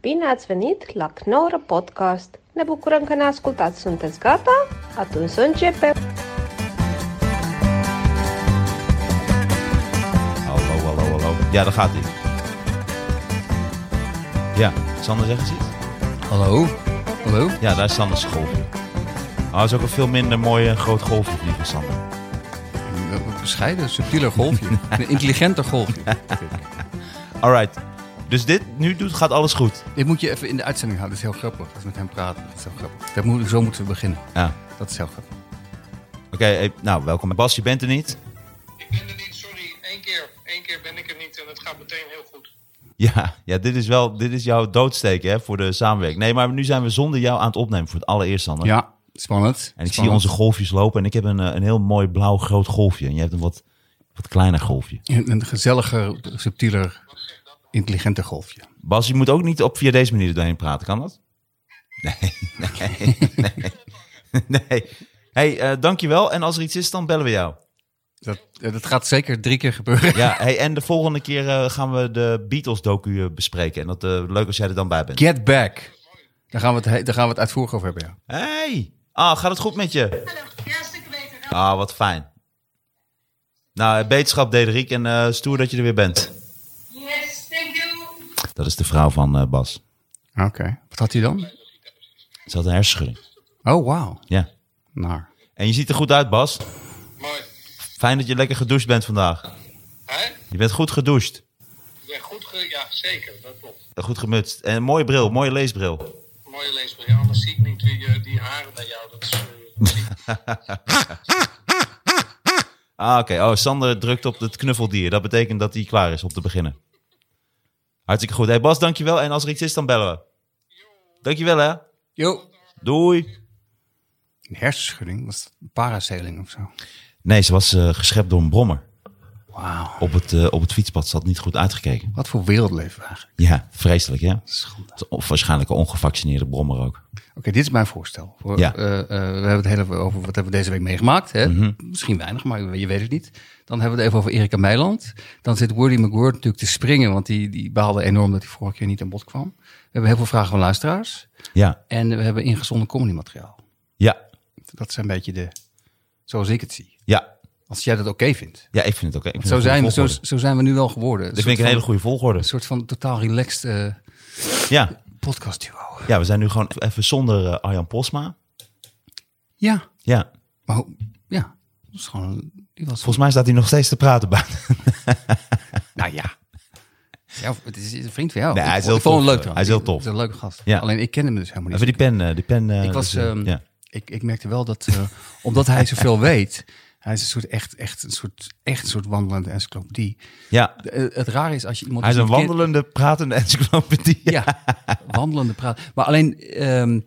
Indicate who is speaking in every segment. Speaker 1: Bine ați venit la Knorr Podcast! Ne bucurăm că ne ascultați! Sunteți gata? Atunci să începem!
Speaker 2: Hallo, hallo, hallo. Ja, daar gaat hij. Ja, Sander zegt iets.
Speaker 3: Hallo? Hallo?
Speaker 2: Ja, daar is Sanders golfje. Maar het is ook een veel minder mooi eh, groot golfje die van Sander.
Speaker 3: Een bescheiden, subtieler golfje. Een intelligenter golfje.
Speaker 2: Alright. Dus dit, nu doet, gaat alles goed.
Speaker 3: Dit moet je even in de uitzending houden. Dat is heel grappig. Als we met hem praten. Dat is heel grappig. Dat moet, zo moeten we beginnen.
Speaker 2: Ja.
Speaker 3: Dat is heel grappig.
Speaker 2: Oké, eh, nou, welkom. Bas, je bent er niet.
Speaker 4: Ik ben er niet, sorry. Eén keer. Eén keer ben ik er niet en het gaat meteen heel goed.
Speaker 2: Ja, ja dit is wel, dit is jouw doodsteek hè, voor de samenwerking. Nee, maar nu zijn we zonder jou aan het opnemen voor het allereerst, Sander.
Speaker 3: Ja, spannend.
Speaker 2: En ik zie onze golfjes lopen en ik heb een, eh, een heel mooi blauw groot golfje. En jij hebt een wat, wat kleiner golfje.
Speaker 3: Een, een gezelliger, subtieler, intelligenter golfje.
Speaker 2: Bas, je moet ook niet op via deze manier er doorheen praten, kan dat? Nee, nee, nee. nee. hey, eh, dankjewel. En als er iets is, dan bellen we jou.
Speaker 3: Dat, eh, dat gaat zeker drie keer gebeuren.
Speaker 2: Ja, hey, en de volgende keer eh, gaan we de Beatles-docu eh, bespreken. En dat eh, leuk als jij er dan bij bent.
Speaker 3: Get back. Daar gaan we het, he- daar gaan we het uitvoerig over hebben, ja.
Speaker 2: Hey! Ah, gaat het goed met je?
Speaker 5: Hallo, ja, een stukje beter. hè?
Speaker 2: Ah, wat fijn. Nou, eh, beterschap Dederik en eh, stoer dat je er weer bent.
Speaker 5: Yes, thank you.
Speaker 2: Dat is de vrouw van eh, Bas.
Speaker 3: Ah, Oké. Wat had hij dan?
Speaker 2: Ze had een hersenschudding.
Speaker 3: Oh, wauw.
Speaker 2: Ja.
Speaker 3: Naar.
Speaker 2: En je ziet er goed uit, Bas.
Speaker 4: Mooi.
Speaker 2: Fijn dat je lekker gedoucht bent vandaag.
Speaker 4: Hè?
Speaker 2: Je bent goed gedoucht.
Speaker 4: Ik ben goed ge... Ja, zeker. Dat klopt.
Speaker 2: Goed gemutst. En een mooie bril, mooie leesbril.
Speaker 4: Mooie leesbril. Ja, anders zie ik niet die, eh, die haren bij jou. Dat is... eh,
Speaker 2: Ah, oké. Oh, Sander drukt op het knuffeldier. Dat betekent dat hij klaar is om te beginnen. Hartstikke goed. Hey Bas, dankjewel. En als er iets is, dan bellen we. Dankjewel, hè.
Speaker 3: Jo.
Speaker 2: Doei.
Speaker 3: Een hersenschudding? Was dat een parasailing of zo?
Speaker 2: Nee, ze was eh, geschept door een brommer.
Speaker 3: Wauw.
Speaker 2: Op het, eh, op het fietspad. Ze had niet goed uitgekeken.
Speaker 3: Wat voor wereld leven we eigenlijk?
Speaker 2: Ja, vreselijk, hè.
Speaker 3: Schande.
Speaker 2: Of waarschijnlijk een ongevaccineerde brommer ook.
Speaker 3: Oké, dit is mijn voorstel. Voor,
Speaker 2: Ja. Mhm.
Speaker 3: eh, eh, we hebben het heel even over wat hebben we deze week meegemaakt. Hè? Misschien weinig, maar je weet het niet. Dan hebben we het even over Erika Meiland. Dan zit Woody McGuire natuurlijk te springen, want die, die baalde enorm dat hij vorige keer niet aan bod kwam. We hebben heel veel vragen van luisteraars.
Speaker 2: Ja.
Speaker 3: En we hebben ingezonden comedymateriaal.
Speaker 2: Ja.
Speaker 3: Dat zijn een beetje de, zoals ik het zie.
Speaker 2: Ja.
Speaker 3: Als jij dat oké vindt.
Speaker 2: Ja, ik vind het oké. Ik vind
Speaker 3: Zo
Speaker 2: het een
Speaker 3: zijn, dus- we,
Speaker 2: goede
Speaker 3: zo,
Speaker 2: volgorde.
Speaker 3: zo zijn we nu wel geworden.
Speaker 2: Dit vind ik een hele goede volgorde.
Speaker 3: Een soort van totaal relaxed eh,
Speaker 2: Ja.
Speaker 3: podcast duo.
Speaker 2: Ja, we zijn nu gewoon even zonder eh, Arjan Posma.
Speaker 3: Ja,
Speaker 2: Ja.
Speaker 3: maar hoe- ja. Dat is gewoon, die was
Speaker 2: Volgens mij staat hij nog steeds te praten bij
Speaker 3: Nou ja. ja het is een vriend van jou.
Speaker 2: Nee,
Speaker 3: Ik
Speaker 2: hij is
Speaker 3: vond-
Speaker 2: heel
Speaker 3: ik vond hem
Speaker 2: tof.
Speaker 3: leuk trouwens.
Speaker 2: Hij is heel
Speaker 3: Het
Speaker 2: tof.
Speaker 3: een leuke gast.
Speaker 2: Ja.
Speaker 3: Alleen ik ken hem dus helemaal niet.
Speaker 2: Even die pen. eh, Die pen eh,
Speaker 3: ik, was,
Speaker 2: dus, eh,
Speaker 3: ehm,
Speaker 2: ja.
Speaker 3: ik, ik merkte wel dat, eh, omdat hij zoveel weet, hij is een soort echt, echt, een soort, echt een soort wandelende encyclopedie.
Speaker 2: ja,
Speaker 3: De- eh, het rare is als je iemand...
Speaker 2: hij is
Speaker 3: dus
Speaker 2: een
Speaker 3: niet kent-
Speaker 2: wandelende, pratende encyclopedie.
Speaker 3: Ja, wandelende praat. Maar alleen ehm,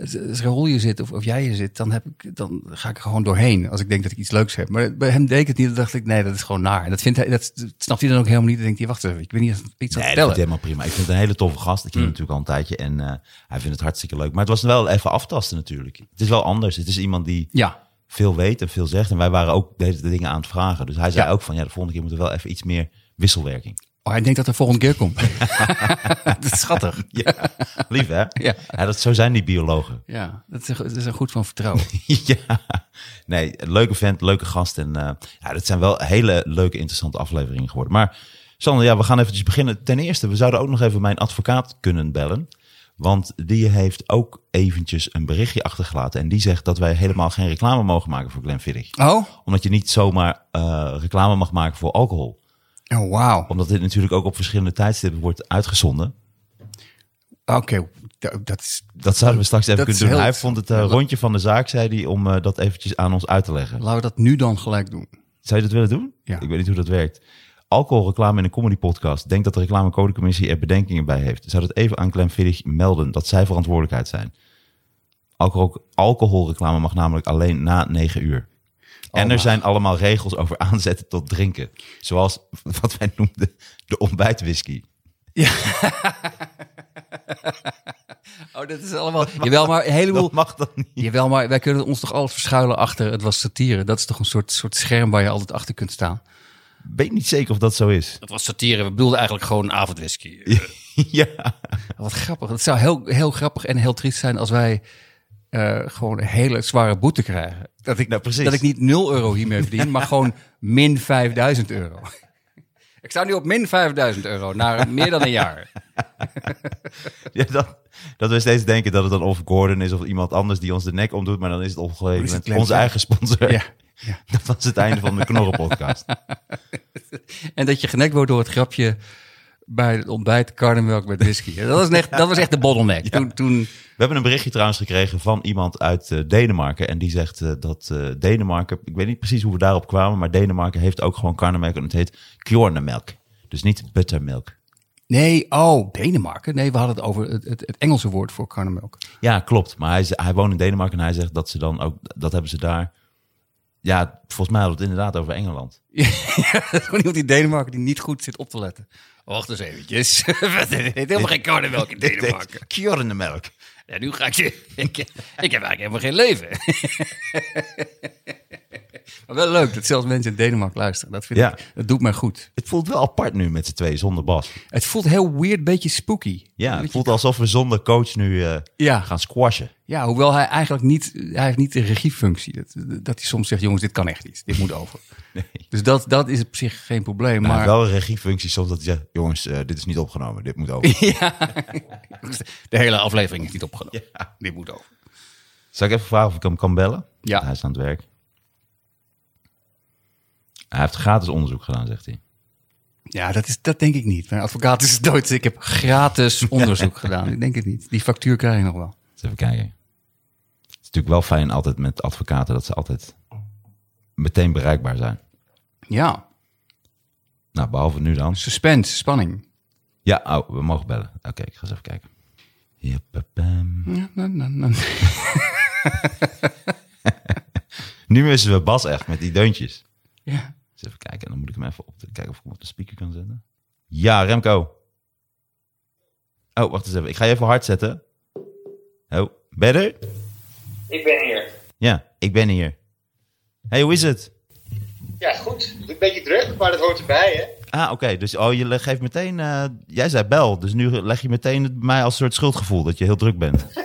Speaker 3: als als Raoul hier zit of, of jij hier zit, dan, heb ik, dan ga ik er gewoon doorheen als ik denk dat ik iets leuks heb. Maar bij hem deed ik het niet. Dan dacht ik, nee, dat is gewoon naar. En Dat, vindt hij, dat, dat snapt hij dan ook helemaal niet. Dan denkt hij, wacht even, ik ben niet iets aan
Speaker 2: Nee,
Speaker 3: het
Speaker 2: dat vind ik
Speaker 3: vertellen. Mm.
Speaker 2: helemaal prima. Ik vind het een hele toffe gast. Ik ken hem natuurlijk al een tijdje en eh, hij vindt het hartstikke leuk. Maar het was wel even aftasten natuurlijk. Het is wel anders. Het is iemand die
Speaker 3: Ja,
Speaker 2: veel weet en veel zegt. En wij waren ook deze dingen aan het vragen. Dus hij zei
Speaker 3: Ja.
Speaker 2: ook van, ja, de volgende keer moeten we wel even iets meer wisselwerking.
Speaker 3: Oh, hij denkt dat er volgende keer komt. dat is schattig.
Speaker 2: Ja, lief hè?
Speaker 3: Ja.
Speaker 2: dat, zo zijn die biologen.
Speaker 3: Ja, dat is, dat is een goed van vertrouwen.
Speaker 2: ja. Nee, leuke vent, leuke gast. En eh, ja, dat zijn wel hele leuke, interessante afleveringen geworden. Maar Sander, ja, we gaan eventjes beginnen. Ten eerste, we zouden ook nog even mijn advocaat kunnen bellen. Want die heeft ook eventjes een berichtje achtergelaten. En die zegt dat wij helemaal geen reclame mogen maken voor Glenfiddich.
Speaker 3: Oh?
Speaker 2: Omdat je niet zomaar eh, reclame mag maken voor alcohol.
Speaker 3: Oh, wauw. Oké,
Speaker 2: Omdat dit natuurlijk ook op verschillende tijdstippen wordt uitgezonden.
Speaker 3: da- dat is...
Speaker 2: Dat zouden we straks even
Speaker 3: Dat is
Speaker 2: kunnen doen.
Speaker 3: heel-
Speaker 2: Hij vond het eh, rondje van de zaak, zei hij, om eh, dat eventjes aan ons uit te leggen.
Speaker 3: Laten we dat nu dan gelijk doen.
Speaker 2: Zou je dat willen doen?
Speaker 3: Ja.
Speaker 2: Ik weet niet hoe dat werkt. Alcoholreclame in een comedy podcast. Denk dat de reclamecodecommissie er bedenkingen bij heeft. Zou dat even aan Clem Vidig melden dat zij verantwoordelijkheid zijn? Alcohol, alcoholreclame mag namelijk alleen na 9 uur. En er
Speaker 3: Oh, maar.
Speaker 2: zijn allemaal regels over aanzetten tot drinken. Zoals wat wij noemden de ontbijtwhisky.
Speaker 3: Oh, dat is allemaal... Jawel, maar een heleboel...
Speaker 2: Dat mag dan niet.
Speaker 3: Jawel, maar wij kunnen ons toch alles verschuilen achter... Het was satire. Dat is toch een soort, soort scherm waar je altijd achter kunt staan.
Speaker 2: Ik weet niet zeker of dat zo is.
Speaker 3: Dat was satire. We bedoelden eigenlijk gewoon avondwhisky.
Speaker 2: ja.
Speaker 3: Nou, Wat grappig. Het zou heel, heel grappig en heel triest zijn als wij eh, gewoon een hele zware boete krijgen. Dat ik,
Speaker 2: Nou, precies.
Speaker 3: dat ik niet 0 euro hiermee verdien, maar gewoon min 5000 euro. Ik sta nu op min 5000 euro na meer dan een jaar.
Speaker 2: ja dat, dat we steeds denken dat het dan of Gordon is of iemand anders die ons de nek omdoet. Maar dan is het
Speaker 3: Is het
Speaker 2: opgeleverd met
Speaker 3: Glenn
Speaker 2: onze
Speaker 3: Fry?
Speaker 2: eigen sponsor.
Speaker 3: Ja.
Speaker 2: Dat was het einde van de Knorren-podcast.
Speaker 3: En dat je genekt wordt door het grapje bij het ontbijt karnemelk met whisky. Dat was echt, dat was echt de bottleneck. Toen, toen,
Speaker 2: We hebben een berichtje trouwens gekregen van iemand uit eh, Denemarken. En die zegt eh, dat eh, Denemarken, ik weet niet precies hoe we daarop kwamen, maar Denemarken heeft ook gewoon karnemelk en het heet Kjornemelk. Dus niet buttermelk.
Speaker 3: nee, oh, Denemarken. Nee, we hadden het over het, het, het Engelse woord voor karnemelk.
Speaker 2: Ja, klopt. Maar hij, ze- hij woont in Denemarken en hij zegt dat ze dan ook, dat hebben ze daar. Ja, volgens mij hadden we het inderdaad over Engeland.
Speaker 3: Ja, dat is gewoon iemand in Denemarken die niet goed zit op te letten. Wacht eens eventjes. Het heet helemaal geen karnemelk in Denemarken.
Speaker 2: Kjornemelk.
Speaker 3: Ja, nu ga ik je... Ik, ik heb eigenlijk helemaal geen leven. maar wel leuk dat zelfs mensen in Denemarken luisteren. Dat, vind
Speaker 2: Ja.
Speaker 3: ik, dat doet mij goed.
Speaker 2: Het voelt wel apart nu met z'n tweeën zonder Bas.
Speaker 3: Het voelt heel weird, beetje spooky.
Speaker 2: Ja, het
Speaker 3: Beetje-
Speaker 2: voelt alsof we zonder coach nu eh,
Speaker 3: Ja.
Speaker 2: gaan squashen.
Speaker 3: ja, hoewel hij eigenlijk niet... Hij heeft niet de regiefunctie. Dat, dat hij soms zegt, jongens, dit kan echt niet. Dit moet over. Dus dat, dat is op zich geen probleem.
Speaker 2: Maar
Speaker 3: maar
Speaker 2: wel een regiefunctie soms dat je zegt, jongens, eh, dit is niet opgenomen, dit moet over.
Speaker 3: de hele aflevering is niet opgenomen. Dit moet over.
Speaker 2: Zal ik even vragen of ik hem kan bellen?
Speaker 3: Ja.
Speaker 2: Hij is aan het werk. Hij heeft gratis onderzoek gedaan, zegt hij.
Speaker 3: Ja, dat, is, dat denk ik niet. Mijn advocaat is dood. Ik heb gratis onderzoek gedaan. Ik denk het niet. Die factuur krijg ik nog wel.
Speaker 2: Eens even kijken. Het is natuurlijk wel fijn altijd met advocaten dat ze altijd meteen bereikbaar zijn.
Speaker 3: Ja,
Speaker 2: Nou, behalve nu dan.
Speaker 3: suspense, spanning.
Speaker 2: Ja, oh, we mogen bellen. Oké, ik ga eens even kijken. Ja, pa, pam.
Speaker 3: Ja, na, na, na.
Speaker 2: Nu missen we Bas echt met die deuntjes.
Speaker 3: Ja.
Speaker 2: Eens even kijken. En dan moet ik hem even op de, kijken of ik hem op de speaker kan zetten. Ja, Remco. Oh, wacht eens even. Ik ga je even hard zetten. Oh, better?
Speaker 4: Ik ben hier.
Speaker 2: Ja, ik ben hier. Hey, hoe is het?
Speaker 4: Ja, goed. Een beetje druk, maar dat hoort erbij, hè?
Speaker 2: Ah, oké. Dus oh, je le- geeft meteen... eh, jij zei bel, dus nu leg je meteen het bij mij als soort schuldgevoel dat je heel druk bent.
Speaker 4: Ja,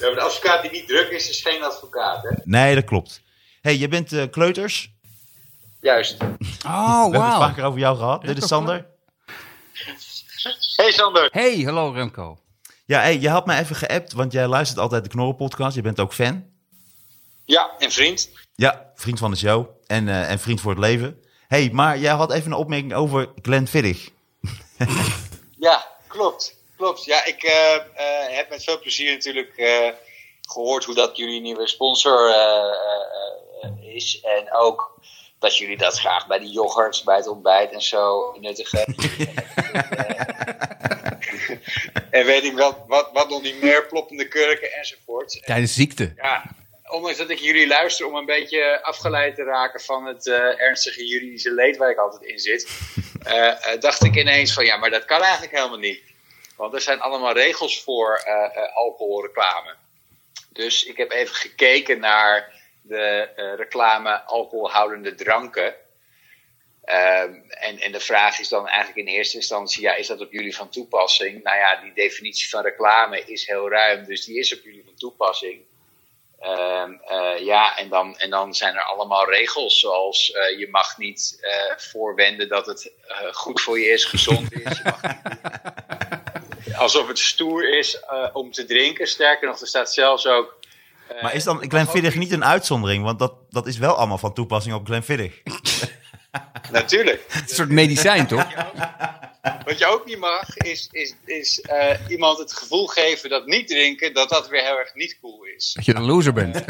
Speaker 4: maar een advocaat die niet druk is, is geen advocaat, hè?
Speaker 2: Nee, dat klopt. hey, je bent eh, kleuters.
Speaker 4: Juist.
Speaker 3: Oh,
Speaker 2: We hebben het
Speaker 3: wauw.
Speaker 2: vaker over jou gehad. Dit is Sander.
Speaker 4: Hey Sander.
Speaker 3: Hey, hallo Remco.
Speaker 2: Ja, hey, je had mij even geappt, want jij luistert altijd de Knorren-podcast. Je bent ook fan.
Speaker 4: Ja, en vriend.
Speaker 2: Ja, vriend van de show en, eh, en vriend voor het leven. hey, maar jij had even een opmerking over Glenn Viddig.
Speaker 4: Ja, klopt. Klopt. Ja, ik eh, eh, heb met veel plezier natuurlijk eh, gehoord hoe dat jullie nieuwe sponsor eh, eh, eh, is. En ook dat jullie dat graag bij de yoghurt, bij het ontbijt en zo nuttigen. en weet ik wat, wat, wat nog niet meer, ploppende kurken enzovoort.
Speaker 3: Tijdens ziekte.
Speaker 4: Ja, ondanks dat ik jullie luister om een beetje afgeleid te raken van het eh, ernstige juridische leed waar ik altijd in zit, eh, eh, dacht ik ineens van ja, maar dat kan eigenlijk helemaal niet. Want er zijn allemaal regels voor eh, eh, alcoholreclame. Dus ik heb even gekeken naar de eh, reclame alcoholhoudende dranken. Ehm, en, en de vraag is dan eigenlijk in eerste instantie, ja, is dat op jullie van toepassing? Nou ja, die definitie van reclame is heel ruim, dus die is op jullie van toepassing. Ehm, eh, ja, en dan, en dan zijn er allemaal regels, zoals eh, je mag niet eh, voorwenden dat het eh, goed voor je is, gezond is. Je mag niet- Alsof het stoer is eh, om te drinken. Sterker nog, er staat zelfs ook
Speaker 2: maar is dan Glenn Viddig Eh, niet een uitzondering? Want dat, dat is wel allemaal van toepassing op Glenn Viddig.
Speaker 4: Natuurlijk.
Speaker 3: Een soort medicijn, toch?
Speaker 4: Wat je ook niet mag, is, is, is eh, iemand het gevoel geven dat niet drinken, dat dat weer heel erg niet cool is.
Speaker 3: Dat je een loser bent.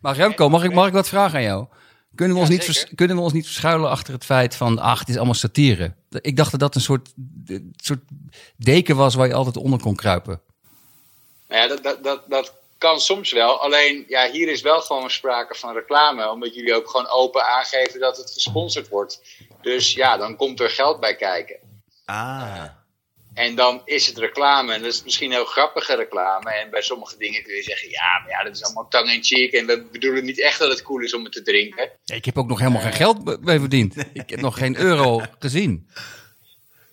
Speaker 3: maar Remco, mag ik, mag ik wat vragen aan jou? Kunnen we, ons niet
Speaker 4: zeker.
Speaker 3: vers- kunnen we ons niet verschuilen achter het feit van, ach, het is allemaal satire? Ik dacht dat dat een soort, een soort deken was waar je altijd onder kon kruipen.
Speaker 4: Nou ja, dat, dat, dat, dat kan soms wel. Alleen, ja, hier is wel gewoon sprake van reclame. Omdat jullie ook gewoon open aangeven dat het gesponsord wordt. Dus ja, dan komt er geld bij kijken.
Speaker 2: Ah.
Speaker 4: En dan is het reclame. En dat is misschien heel grappige reclame. En bij sommige dingen kun je zeggen, ja, maar ja, dat is allemaal tang in cheek. En we bedoelen niet echt dat het cool is om het te drinken.
Speaker 2: Eh.
Speaker 3: Ik heb ook nog helemaal geen geld be- mee verdiend. Ik heb nog geen euro gezien.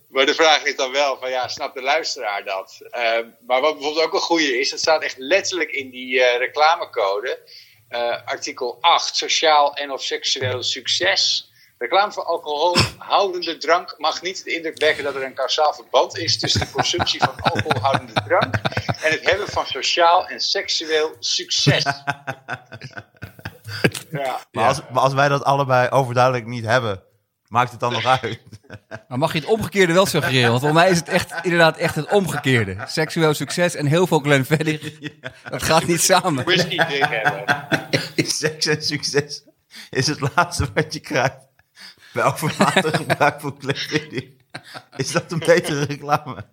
Speaker 4: Maar de vraag is dan wel van ja, snapt de luisteraar dat? Ehm, maar wat bijvoorbeeld ook een goede is, dat staat echt letterlijk in die eh, reclamecode. eh, artikel 8, sociaal en of seksueel succes. Reclame voor alcoholhoudende drank mag niet de indruk wekken dat er een kausaal verband is tussen de consumptie van alcoholhoudende drank en het hebben van sociaal en seksueel succes. Ja.
Speaker 2: Maar, als, maar als wij dat allebei overduidelijk niet hebben, maakt het dan nog uit?
Speaker 3: Maar mag je het omgekeerde wel suggereren? Want voor mij is het echt, inderdaad echt het omgekeerde. Seksueel succes en heel veel Glenfiddich. Dat gaat niet samen.
Speaker 4: Whisky drink hebben.
Speaker 2: Seks en succes is het laatste wat je krijgt. Bij overmatig gebruik van kleding. Is dat een betere reclame?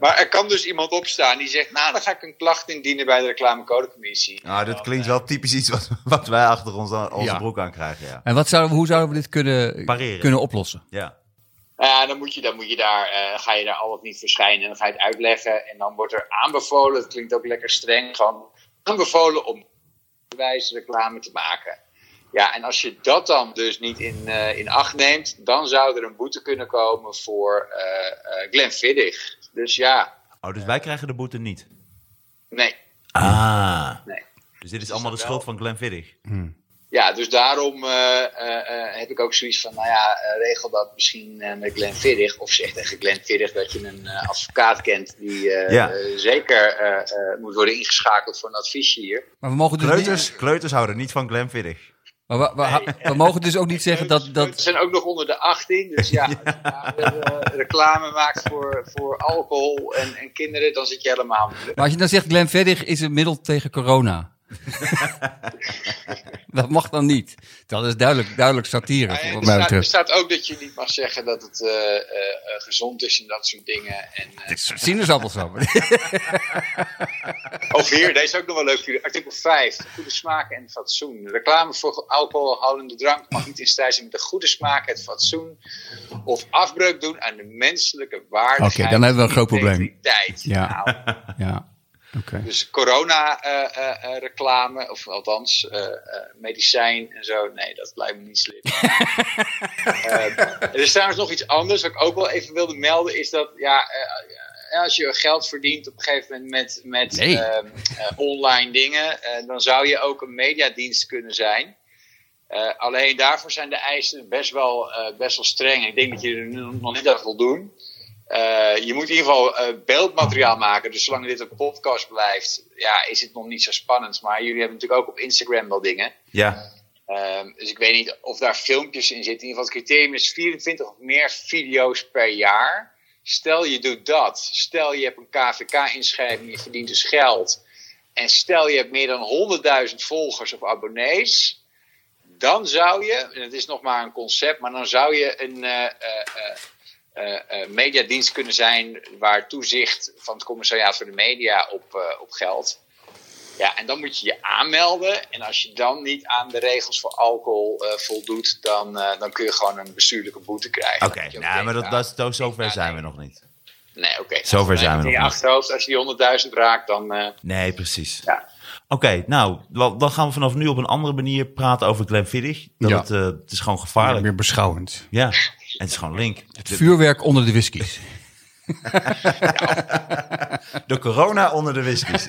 Speaker 4: Maar er kan dus iemand opstaan die zegt, nou dan ga ik een klacht indienen bij de reclamecodecommissie.
Speaker 2: Nou, dit klinkt wel typisch iets wat, wat wij achter ons aan, onze
Speaker 3: Ja.
Speaker 2: broek aan krijgen. Ja.
Speaker 3: En wat zouden we, hoe zouden we dit kunnen,
Speaker 2: Pareren.
Speaker 3: kunnen oplossen?
Speaker 2: ja.
Speaker 4: Nou ja, dan moet je, dan moet je daar, eh, ga je daar al of niet verschijnen en dan ga je het uitleggen. En dan wordt er aanbevolen, het klinkt ook lekker streng, gewoon aanbevolen om wijze reclame te maken. Ja, en als je dat dan dus niet in, eh, in acht neemt, dan zou er een boete kunnen komen voor eh eh Glenfiddich. Dus ja,
Speaker 2: Oh, dus wij krijgen de boete niet.
Speaker 4: nee.
Speaker 2: Ah.
Speaker 4: nee.
Speaker 2: Dus dit is allemaal de
Speaker 4: wel-
Speaker 2: schuld van Glenfiddich.
Speaker 4: Ja, dus daarom eh, eh, eh, heb ik ook zoiets van, nou ja, eh, regel dat misschien eh, met Glenn Viddig. Of zeg tegen Glenn Viddig dat je een eh, advocaat kent die eh,
Speaker 2: Ja.
Speaker 4: eh, zeker eh, eh, moet worden ingeschakeld voor een advies hier.
Speaker 3: Maar we mogen dus, niet,
Speaker 2: Kleuters, kleuters houden niet van Glenfiddich.
Speaker 3: maar we, we- we mogen dus ook niet zeggen dat...
Speaker 4: Eh, Ze
Speaker 3: dat
Speaker 4: zijn ook nog onder de 18, dus ja, als je daar weer, eh, reclame maakt voor, voor alcohol en, en kinderen, dan zit je helemaal...
Speaker 3: maar als je dan zegt Glenfiddich is een middel tegen corona. dat mag dan niet. Dat is duidelijk, duidelijk satire.
Speaker 4: Ja, ja,
Speaker 3: wat
Speaker 4: er,
Speaker 3: mij
Speaker 4: staat, er
Speaker 3: betreft.
Speaker 4: staat ook dat je niet mag zeggen dat het eh, eh, eh, gezond is en dat soort dingen. En, eh,
Speaker 3: Het is een sinaasappelsap.
Speaker 4: Of hier, Oh, deze is ook nog wel leuk voor jullie. Artikel 5. Goede smaak en fatsoen. Reclame voor alcoholhoudende drank mag niet in strijd zijn met de goede smaak, het fatsoen. Of afbreuk doen aan de menselijke waardigheid.
Speaker 3: Oké, dan hebben we een groot
Speaker 4: en
Speaker 3: probleem.
Speaker 4: integriteit.
Speaker 3: Ja.
Speaker 4: Nou,
Speaker 3: Ja, oké.
Speaker 4: dus eh, corona-reclame, of althans eh, eh, medicijn en zo. Nee, dat lijkt me niet slim. Eh, er is trouwens nog iets anders wat ik ook wel even wilde melden. Is dat ja, eh, eh, als je geld verdient op een gegeven moment met, met
Speaker 3: Nee.
Speaker 4: ehm, eh, online dingen, eh, dan zou je ook een mediadienst kunnen zijn. Eh, alleen daarvoor zijn de eisen best wel, eh, best wel streng. Ik denk dat je er nu nog niet aan voldoen. Eh, je moet in ieder geval eh, beeldmateriaal maken. Dus zolang dit een podcast blijft, ja, is het nog niet zo spannend. Maar jullie hebben natuurlijk ook op Instagram wel dingen.
Speaker 2: Ja.
Speaker 4: Ehm, dus ik weet niet of daar filmpjes in zitten. In ieder geval, het criterium is 24 of meer video's per jaar. Stel je doet dat. Stel je hebt een KVK-inschrijving, je verdient dus geld. En stel je hebt meer dan 100.000 volgers of abonnees. Dan zou je, en het is nog maar een concept, maar dan zou je een eh, eh, eh, eh, eh, mediadienst kunnen zijn waar toezicht van het Commissariaat voor de Media op, eh, op geldt. Ja, en dan moet je je aanmelden. En als je dan niet aan de regels voor alcohol eh, voldoet, dan, eh, dan kun je gewoon een bestuurlijke boete krijgen.
Speaker 2: Oké, nou, maar dat, dat, is- zo- zover zijn we nog niet.
Speaker 4: Nee, oké.
Speaker 2: Zover
Speaker 4: Als je
Speaker 2: zijn we
Speaker 4: in je
Speaker 2: nog niet.
Speaker 4: achterhoofd, als je die 100.000 raakt, dan... eh,
Speaker 2: Nee, precies.
Speaker 4: Ja.
Speaker 2: Oké, nou, wel- dan gaan we vanaf nu op een andere manier praten over Glenfiddich. Dat
Speaker 3: Ja.
Speaker 2: het, eh, het is gewoon
Speaker 3: Maar
Speaker 2: gevaarlijk.
Speaker 3: meer beschouwend.
Speaker 2: Ja, en het is gewoon link. De,
Speaker 3: Vuurwerk onder de whiskies.
Speaker 2: de corona onder de whiskies.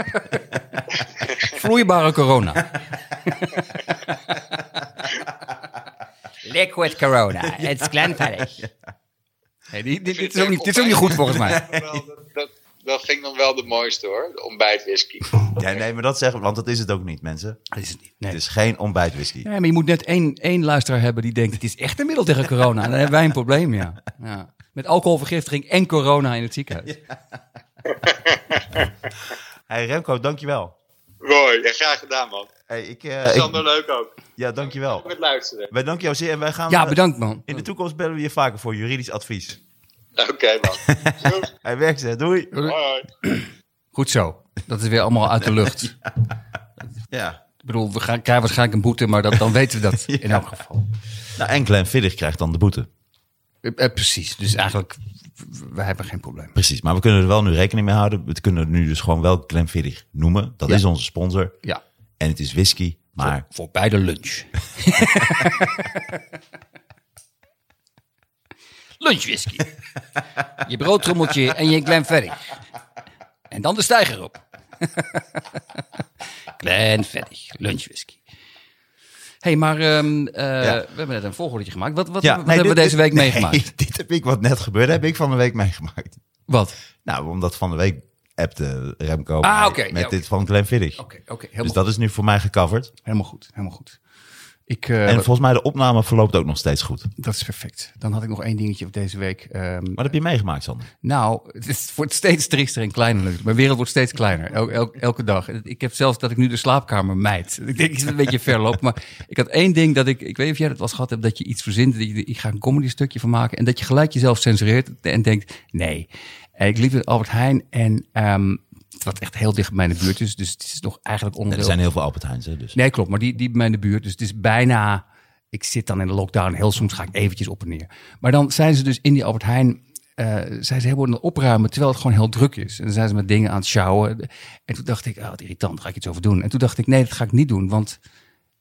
Speaker 3: Vloeibare corona. Liquid corona. Het is glenverdig. dit, dit is ook niet, dit is ook niet goed volgens mij.
Speaker 4: dat, dat, dat ging dan wel de mooiste hoor, de ontbijtwhisky.
Speaker 2: Ja, nee, maar dat zeggen we, want dat is het ook niet, mensen.
Speaker 3: Dat is het niet. Nee.
Speaker 2: Het is geen ontbijtwhisky.
Speaker 3: Ja, maar je moet net één, één luisteraar hebben die denkt... het is echt een middel tegen corona. Dan hebben wij een probleem, ja. ja. Met alcoholvergiftiging en corona in het ziekenhuis.
Speaker 2: Hey Remco, dankjewel.
Speaker 4: Mooi, ja, graag gedaan man.
Speaker 2: Hey, ik, eh,
Speaker 4: Sander,
Speaker 2: ik,
Speaker 4: leuk ook.
Speaker 2: ja, dankjewel.
Speaker 4: Met luisteren.
Speaker 2: Wij danken jou zeer en wij gaan...
Speaker 3: Ja,
Speaker 2: eh,
Speaker 3: bedankt man.
Speaker 2: In de toekomst bellen we je vaker voor juridisch advies.
Speaker 4: Oké man. Goed,
Speaker 2: Hij werkt ze, doei.
Speaker 4: hoi, hoi.
Speaker 3: Goed zo. Dat is weer allemaal uit de lucht.
Speaker 2: Ja.
Speaker 3: Ik bedoel, we gaan, krijgen waarschijnlijk een boete, maar dat, dan weten we dat in elk geval.
Speaker 2: Nou, en Glenfiddich krijgt dan de boete.
Speaker 3: Eh, eh, precies, dus eigenlijk, we hebben geen probleem.
Speaker 2: Precies, maar we kunnen er wel nu rekening mee houden. We kunnen het nu dus gewoon wel Glenfiddich noemen. Dat
Speaker 3: Ja.
Speaker 2: is onze sponsor.
Speaker 3: Ja,
Speaker 2: En het is whisky, maar...
Speaker 3: voor bij de lunch. Lunchwhisky. je broodtrommeltje en je Glenferry. En dan de stijger op. Glenferry, lunchwhisky. hey, maar ehm, eh, we hebben net een volgordetje gemaakt. Wat, wat,
Speaker 2: nee,
Speaker 3: wat hebben we
Speaker 2: dit-
Speaker 3: deze week
Speaker 2: dit- nee,
Speaker 3: meegemaakt?
Speaker 2: dit heb ik wat net gebeurde, heb ik van de week meegemaakt.
Speaker 3: Wat?
Speaker 2: Nou, omdat van de week appte Remco
Speaker 3: Ah,
Speaker 2: mij
Speaker 3: oké, ja,
Speaker 2: met
Speaker 3: oké.
Speaker 2: dit van Glenfiddich.
Speaker 3: Oké, oké,
Speaker 2: dus
Speaker 3: helemaal,
Speaker 2: dat is nu voor mij gecoverd.
Speaker 3: goed. helemaal goed. Helemaal goed. Ik, eh,
Speaker 2: En volgens mij de opname verloopt ook nog steeds goed.
Speaker 3: dat is perfect. Dan had ik nog één dingetje op deze week. ehm,
Speaker 2: Wat heb je meegemaakt, Sander?
Speaker 3: Nou, het is- wordt steeds triester en kleiner. natuurlijk. Mijn wereld wordt steeds kleiner, el- el- elke dag. Ik heb zelfs dat ik nu de slaapkamer mijd. Ik denk, ik zit een beetje ver lopen. Maar ik had één ding dat ik, ik weet niet of jij dat was gehad hebt, dat je iets verzint. dat je- Ik ga een comedy stukje van maken. En dat je gelijk jezelf censureert en denkt, nee. En ik liep met Albert Heijn en ehm het was echt heel dicht bij mijn buurt. Dus, dus het is nog eigenlijk
Speaker 2: Er
Speaker 3: onderdeel
Speaker 2: zijn heel veel Albert Heijn's, hè, dus.
Speaker 3: Nee, klopt. Maar die, die bij mij in de buurt. Dus het is bijna... Ik zit dan in de lockdown. Heel soms ga ik eventjes op en neer. Maar dan zijn ze dus in die Albert Heijn... eh, zijn ze helemaal aan het opruimen, terwijl het gewoon heel druk is. En dan zijn ze met dingen aan het sjouwen. En toen dacht ik, ah, wat irritant, ga ik iets over doen. En toen dacht ik, nee, dat ga ik niet doen, want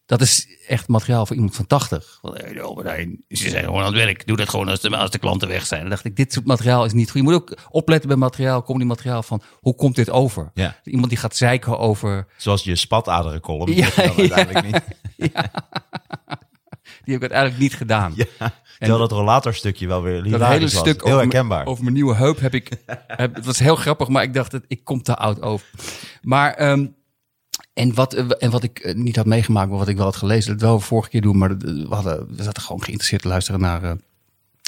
Speaker 3: dat is echt materiaal voor iemand van 80. Want, eh, de Albert Heijn, ze zijn gewoon aan het werk. Doe dat gewoon als de, als de klanten weg zijn. Dan dacht ik, dit soort materiaal is niet goed. Je moet ook opletten bij materiaal, komt die materiaal van, hoe komt dit over?
Speaker 2: Ja.
Speaker 3: Iemand die gaat zeiken over
Speaker 2: Zoals je spataderencolumn.
Speaker 3: Ja,
Speaker 2: Ja, dat
Speaker 3: ja.
Speaker 2: uiteindelijk niet.
Speaker 3: Die heb ik uiteindelijk niet gedaan.
Speaker 2: Terwijl dat rollatorstukje wel weer
Speaker 3: dat
Speaker 2: hilarisch
Speaker 3: hele
Speaker 2: was.
Speaker 3: stuk
Speaker 2: heel
Speaker 3: over,
Speaker 2: herkenbaar.
Speaker 3: Mijn, over mijn nieuwe heup heb ik... heb, het was heel grappig, maar ik dacht, dat ik kom te oud over. Maar... ehm, en wat, eh, en wat ik eh, niet had meegemaakt, maar wat ik wel had gelezen, dat wel vorige keer doen, maar dat, eh, we, hadden, we zaten gewoon geïnteresseerd te luisteren naar, eh,